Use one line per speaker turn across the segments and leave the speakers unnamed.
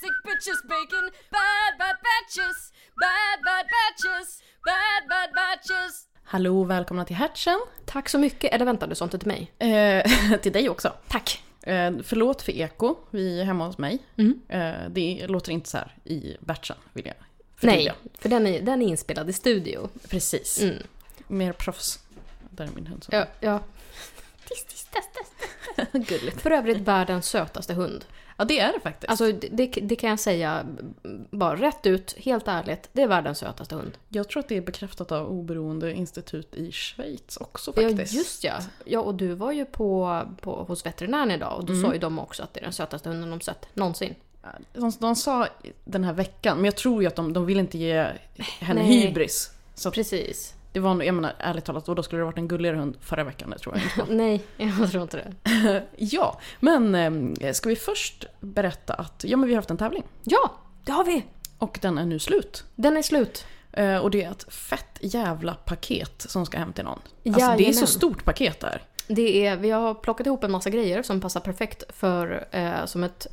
sandwiches, bacon, bad, bad batches, bad, bad batches, bad, bad batches.
Hallå och välkomna till Hertzen.
Tack så mycket. Eller vänta, du sa inte till mig.
Eh, till dig också.
Tack.
Eh, förlåt för eko, vi är hemma hos mig.
Mm.
Eh, det låter inte så här i batchen, vill jag
Nej,
förtydliga.
för den är, den är inspelad i studio.
Precis.
Mm.
Mer proffs. Där är min hund. som-
Ja, ja.
Gulligt.
För övrigt världens sötaste hund.
Ja, det är det faktiskt.
Alltså det, det, det kan jag säga mm, bara rätt ut, helt ärligt. Det är världens sötaste hund.
jag tror att det är bekräftat av oberoende institut i Schweiz också faktiskt.
Ja, just ja. Ja, och du var ju på, på, hos veterinären idag och då sa ju de också att det är den sötaste hunden de sett någonsin.
De, de sa den här veckan, men jag tror ju att de, de vill inte ge henne
Nej.
hybris. Så att
Precis.
det var nog, jag menar ärligt talat, då skulle det varit en gulligare hund förra veckan, det tror jag.
Nej, jag tror inte det.
Ja, men eh, ska vi först berätta att ja, men vi har haft en tävling
Ja, det har vi!
och den är nu slut.
Den är slut.
Eh, Och det är ett fett jävla paket som ska hem till någon. Alltså det är
Jajamän.
så stort paket där.
Det är, vi har plockat ihop en massa grejer som passar perfekt för, eh, som ett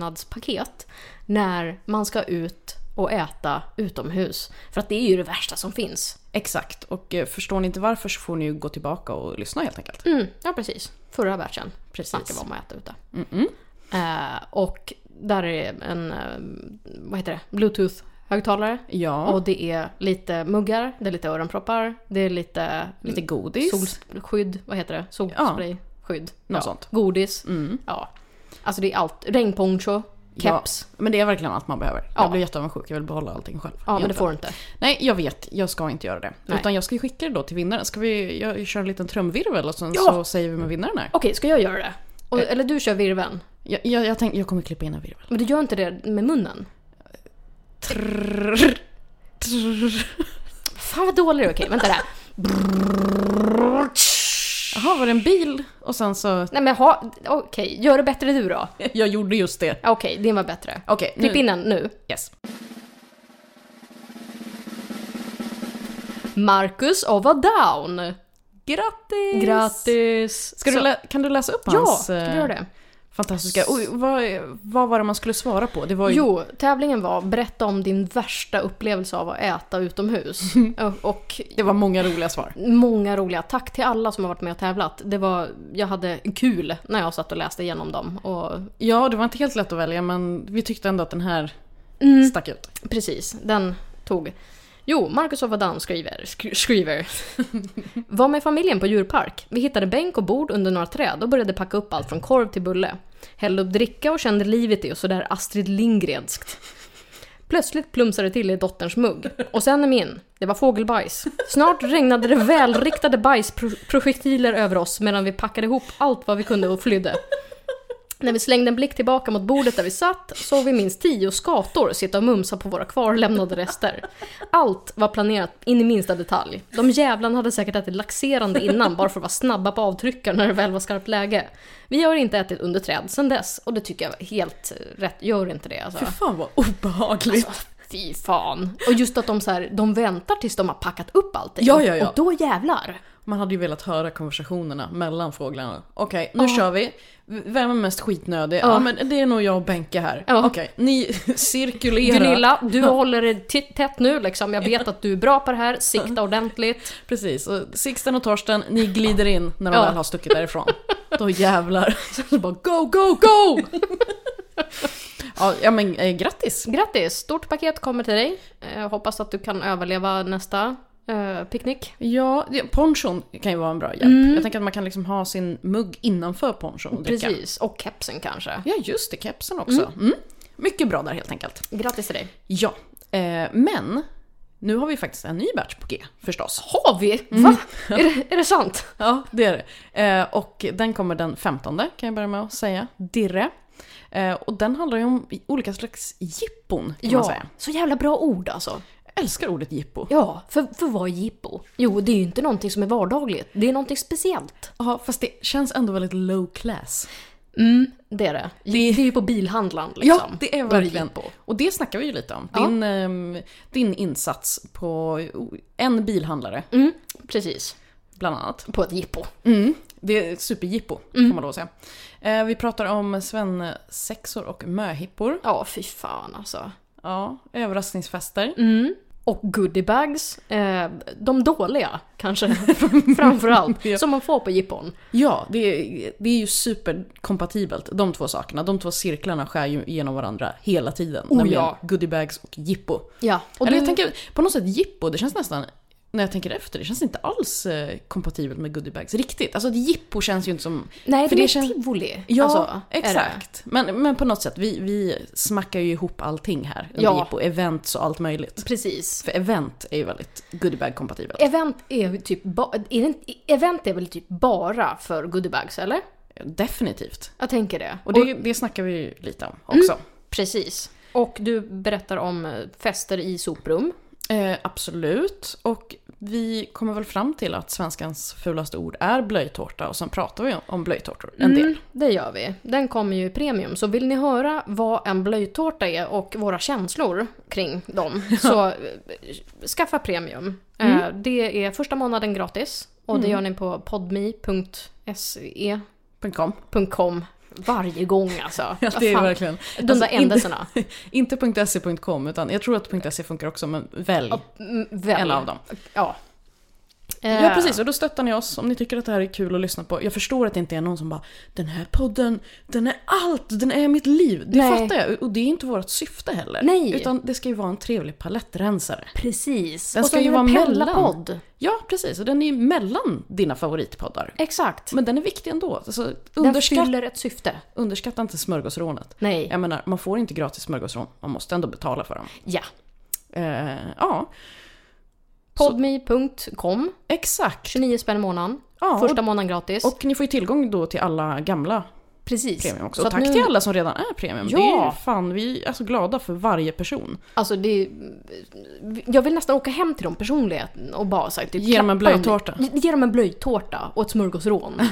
överlevnadspaket när man ska ut och äta utomhus. För att det är ju det värsta som finns.
Exakt, och eh, förstår ni inte varför så får ni ju gå tillbaka och lyssna helt enkelt.
Mm, ja, precis. Förra batchen snackade vi
Precis.
om att äta ute.
Mm-mm.
Eh, och där är en, eh, vad heter det, bluetooth-högtalare.
Ja,
Och det är lite muggar, det är lite öronproppar, det är lite,
lite godis.
solskydd, vad heter det? Solsprayskydd.
Något sånt.
Godis.
Mm.
Ja. Alltså det är allt. Regnponcho, keps. Ja,
Ja, men det är verkligen allt man behöver.
Ja.
Jag blir jätteavundsjuk, jag vill behålla allting själv.
men det
egentligen.
får du inte.
Nej, jag vet. Jag ska inte göra det.
Nej.
Utan jag ska ju skicka det då till vinnaren. Ska vi jag, köra en liten trumvirvel och sen
Ja!
så säger vi med vinnaren är?
Okej, ska jag göra det? Och,
Eh.
eller du kör virveln.
Jag, jag, jag, tänk, jag kommer klippa in en virvel.
Men du gör inte det med munnen?
Trrr, trrr.
Fan vad dålig du är. Okej, vänta där.
Jaha, var det en bil? Och sen så...
Nej men ha, okej, gör det bättre du då.
Jag gjorde just det.
Ja, Okej, din var bättre.
Okej,
Klipp
nu.
in den nu.
Yes.
Marcus of a Down.
Grattis!
Grattis!
Ska du
Så-
lä- kan du läsa upp
Ja,
hans
ska du
eh,
göra det?
fantastiska... Oj, vad, vad var det man skulle svara på? Det var ju...
Jo, tävlingen var berätta om din värsta upplevelse av att äta utomhus. Och- och
Det var många roliga svar.
många roliga. Tack till alla som har varit med och tävlat. Det var, jag hade kul när jag satt och läste igenom dem. Och,
Ja, det var inte helt lätt att välja men vi tyckte ändå att den här stack ut.
precis, den tog. Jo, Marcus of Adan skriver, sk- skriver. Var med familjen på djurpark. Vi hittade bänk och bord under några träd och började packa upp allt från korv till bulle. Hällde upp dricka och kände livet i och sådär Astrid Lindgrenskt. Plötsligt plumsade det till i dotterns mugg. Och sen i min. Det var fågelbajs. Snart regnade det välriktade bajsprojektiler över oss medan vi packade ihop allt vad vi kunde och flydde. När vi slängde en blick tillbaka mot bordet där vi satt såg vi minst tio skator sitta och mumsa på våra kvarlämnade rester. Allt var planerat in i minsta detalj. De jävlarna hade säkert ätit laxerande innan bara för att vara snabba på avtryckaren när det väl var skarpt läge. Vi har inte ätit under träd sedan dess och det tycker jag var helt rätt. Gör inte det alltså.
Fy fan vad obehagligt.
Fy fan. Och just att de, så här, de väntar tills de har packat upp allting.
Ja, ja, ja.
Och då jävlar.
Man hade ju velat höra konversationerna mellan fåglarna. Okej, nu kör vi. V- Vem är mest skitnödig? Ja, men det är nog jag och Benke här.
Ja.
Okej, ni cirkulera.
Gunilla, du håller det t- tätt nu liksom. Jag vet att du är bra på det här. Sikta ordentligt.
Precis, och Sixten och Torsten, ni glider in när de
Ja.
väl har stuckit därifrån. Då jävlar. Så bara go, go, go! ja, ja, men eh, grattis.
Grattis! Stort paket kommer till dig. Eh, hoppas att du kan överleva nästa eh, picknick.
Ja, det- ponchon kan ju vara en bra hjälp.
Mm.
Jag tänker att man kan liksom ha sin mugg innanför ponchon och dricka.
Precis. Och kepsen kanske.
Ja, just det. Kepsen också. Mm. Mycket bra där helt enkelt.
Grattis till dig.
Ja, eh, men nu har vi faktiskt en ny batch på G förstås.
Har vi? Va? Är, det, är det sant?
Ja, det är det. Eh, och den kommer den 15 kan jag börja med att säga. Dirre. Eh, och den handlar ju om olika slags jippon kan man säga.
Så jävla bra ord alltså.
Jag älskar ordet jippo.
Ja, för, för vad är jippo? Jo, det är ju inte någonting som är vardagligt. Det är någonting speciellt.
Ja, fast det känns ändå väldigt low class.
Mm, det är det. Det, är ju på bilhandlaren liksom.
Ja, det är
Då
verkligen.
jippo.
Och det snackar vi ju lite om.
Ja.
Din, ehm, din insats på en bilhandlare.
Mm, precis.
bland annat.
På ett jippo.
Mm. Det är ett superjippo,
Mm.
kan man då säga. Eh, vi pratar om svensexor och möhippor.
Ja, fy fan alltså.
Ja, överraskningsfester.
Mm. Och goodiebags. Eh, de dåliga, kanske. Framförallt.
Ja.
Som man får på jippon.
Ja, det är, det är ju superkompatibelt, de två sakerna. De två cirklarna skär ju genom varandra hela tiden.
Oh,
nämligen
ja.
goodiebags och jippo.
Ja. Och
Eller
du,
jag tänker, på något sätt jippo, det känns nästan, när jag tänker efter, det känns inte alls eh, kompatibelt med goodiebags riktigt. Alltså ett jippo känns ju inte som...
nej,
för
det
det
är
känns-
tivoli.
Ja,
alltså, är det.
exakt. Men, men på något sätt, vi, vi smackar ju ihop allting här under
Ja.
jippo, events och allt möjligt.
Precis.
För event är ju väldigt goodiebag-kompatibelt.
Event är, ju typ ba- är det inte, event är väl typ bara för goodiebags, eller?
Definitivt.
Jag tänker det.
Och Mm. det, det snackar vi ju lite om också.
Precis. Och du berättar om eh, fester i soprum.
Eh, absolut. Och vi kommer väl fram till att svenskans fulaste ord är blöjtårta och sen pratar vi om- om blöjtårtor en del.
Mm, det gör vi. Den kommer ju i premium. Så vill ni höra vad en blöjtårta är och våra känslor kring dem så eh, skaffa premium. Eh,
Mm.
Det är första månaden gratis och det gör ni på podme.se.com
.com.
varje gång alltså.
Ja,
Vad
det är
fan,
verkligen. alltså,
De där ändelserna.
Inte, inte .se.com utan jag tror att .se funkar också men välj
Mm, Väl.
en av dem.
Ja. Eh,
Ja precis och då stöttar ni oss om ni tycker att det här är kul att lyssna på. Jag förstår att det inte är någon som bara “den här podden, den är allt, den är mitt liv”. Det
Nej.
fattar jag och det är inte vårt syfte heller.
Nej.
Utan det ska ju vara en trevlig palettrensare.
Precis.
Den
och
ska
så
ju
är
vara
det
mellan.
Pella-podd.
Ja precis och den är ju mellan dina favoritpoddar.
Exakt.
Men den är viktig ändå. Alltså,
Den
underskatt,
fyller ett syfte.
underskatta inte smörgåsrånet.
Nej.
Jag menar, man får inte gratis smörgåsrån. Man måste ändå betala för dem.
Ja.
Eh, ja,
Podme.com.
exakt.
29 spänn i månaden.
Ja,
Första månaden gratis.
Och ni får ju tillgång då till alla gamla
Precis.
premium också.
Så
Och
att
tack
nu,
till alla som redan är premium.
Ja.
Det är ju fan, vi är så glada för varje person.
Alltså det är, Jag vill nästan åka hem till dem personligen och bara så här, typ,
Ge dem en
klappa
blöjtårta.
Ge- Ge dem en blöjtårta och ett smörgåsrån.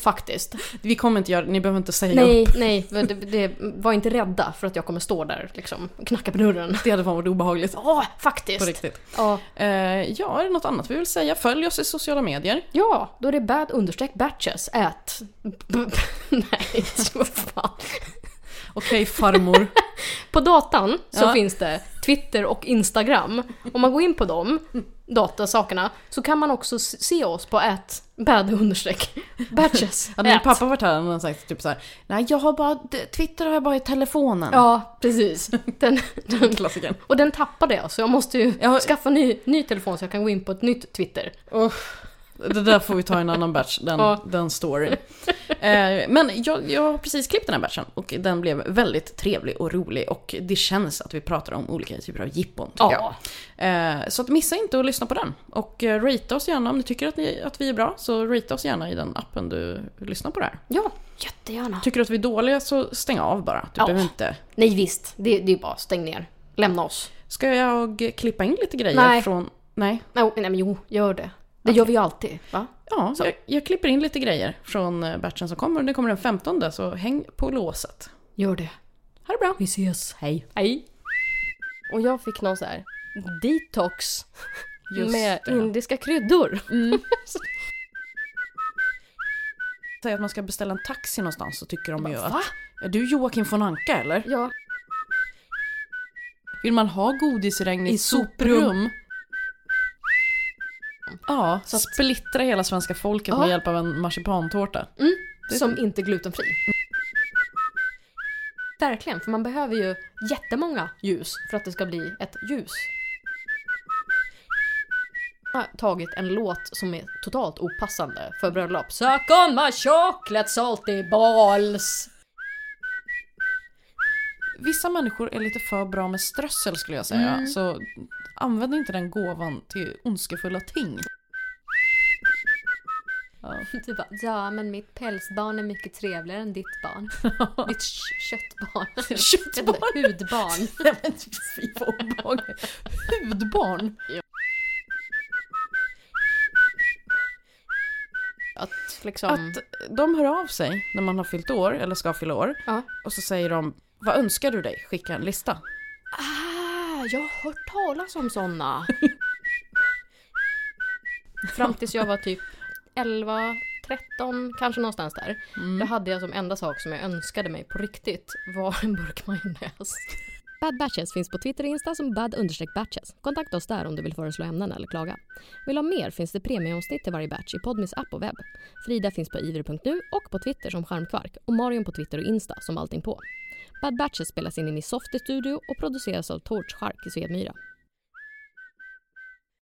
Faktiskt.
Vi kommer inte göra ni behöver inte säga upp.
Nej, nej. men Det, det, var inte rädda för att jag kommer stå där liksom, och knacka på dörren.
Det hade fan varit obehagligt.
Ja,
På
faktiskt.
riktigt.
Ja.
Eh, ja, är det något annat vi vill säga? Följ oss i sociala medier.
Ja, då är det bad understreck batches at... Nej, så vad fan.
Okej farmor.
På datan så
Ja.
finns det Twitter och Instagram. Om man går in på de datasakerna så kan man också s- se oss på at bad understreck batches.
Hade min
at.
pappa varit här hade han sagt typ så här. Nej, jag har bara, Twitter har jag bara i telefonen.
Ja, precis. Den, den,
Klassikern.
och den tappade jag så jag måste ju
Jag har-
skaffa ny, ny telefon så jag kan gå in på ett nytt Twitter.
Det där får vi ta i en annan batch, den,
Ja.
den storyn. Eh, men jag, jag har precis klippt den här batchen och den blev väldigt trevlig och rolig och det känns att vi pratar om olika typer av jippon tycker
Ja.
jag. Eh, så att missa inte att lyssna på den. Och eh, ratea oss gärna om ni tycker att, ni, att vi är bra, så ratea oss gärna i den appen du lyssnar på det här.
Ja, jättegärna.
Tycker du att vi är dåliga så stäng av bara. Du
Ja.
behöver inte.
Nej visst, det, det är bara stäng ner. Lämna oss.
Ska jag klippa in lite grejer
Nej.
från... Nej.
Nej, nej men jo, gör det. Det gör vi ju alltid, va?
Ja, jag, jag klipper in lite grejer från eh, batchen som kommer. Den kommer den 15 så häng på låset.
Gör det.
Ha det bra!
Vi ses.
Hej!
Hej. Och jag fick någon så här detox
Just
med
det.
indiska kryddor.
Mm. Säg att man ska beställa en taxi någonstans så tycker de ju att... Är du Joakim von Anka eller?
Ja.
Vill man ha godisregn i,
I
soprum?
soprum?
Ja, så att... splittra hela svenska folket
Ja.
med hjälp av en marsipantårta.
Mm. Som inte är glutenfri. Verkligen, för man behöver ju jättemånga ljus för att det ska bli ett ljus. Jag har tagit en låt som är totalt opassande för bröllop. Suck on my chocolate salty balls.
Vissa människor är lite för bra med strössel skulle jag säga. Så använd inte den gåvan till ondskefulla ting. Ja.
Du bara, ja men mitt pälsbarn är mycket trevligare än ditt barn. Ditt kö- köttbarn.
Köttbarn?
Hudbarn.
Nej men typ fy vad obehagligt. Hudbarn?
Att liksom...
Att de hör av sig när man har fyllt år, eller ska fylla år.
Ja.
Och så säger de, vad önskar du dig? Skicka en lista.
Ah, jag har hört talas om såna. Fram tills jag var typ 11, 13, kanske någonstans där. Då
Mm.
hade jag som enda sak som jag önskade mig på riktigt var en burk majonnäs. Bad Batches finns på Twitter och Insta som bad-batches. Kontakta oss där om du vill föreslå ämnen eller klaga. Vill du ha mer finns det premieomsnitt till varje batch i Podmis app och webb. Frida finns på iver.nu och på Twitter som Charmkvark och Marion på Twitter och Insta som allting på. Bad Batches spelas in i Softy Studio och produceras av Torch Shark i Svedmyra.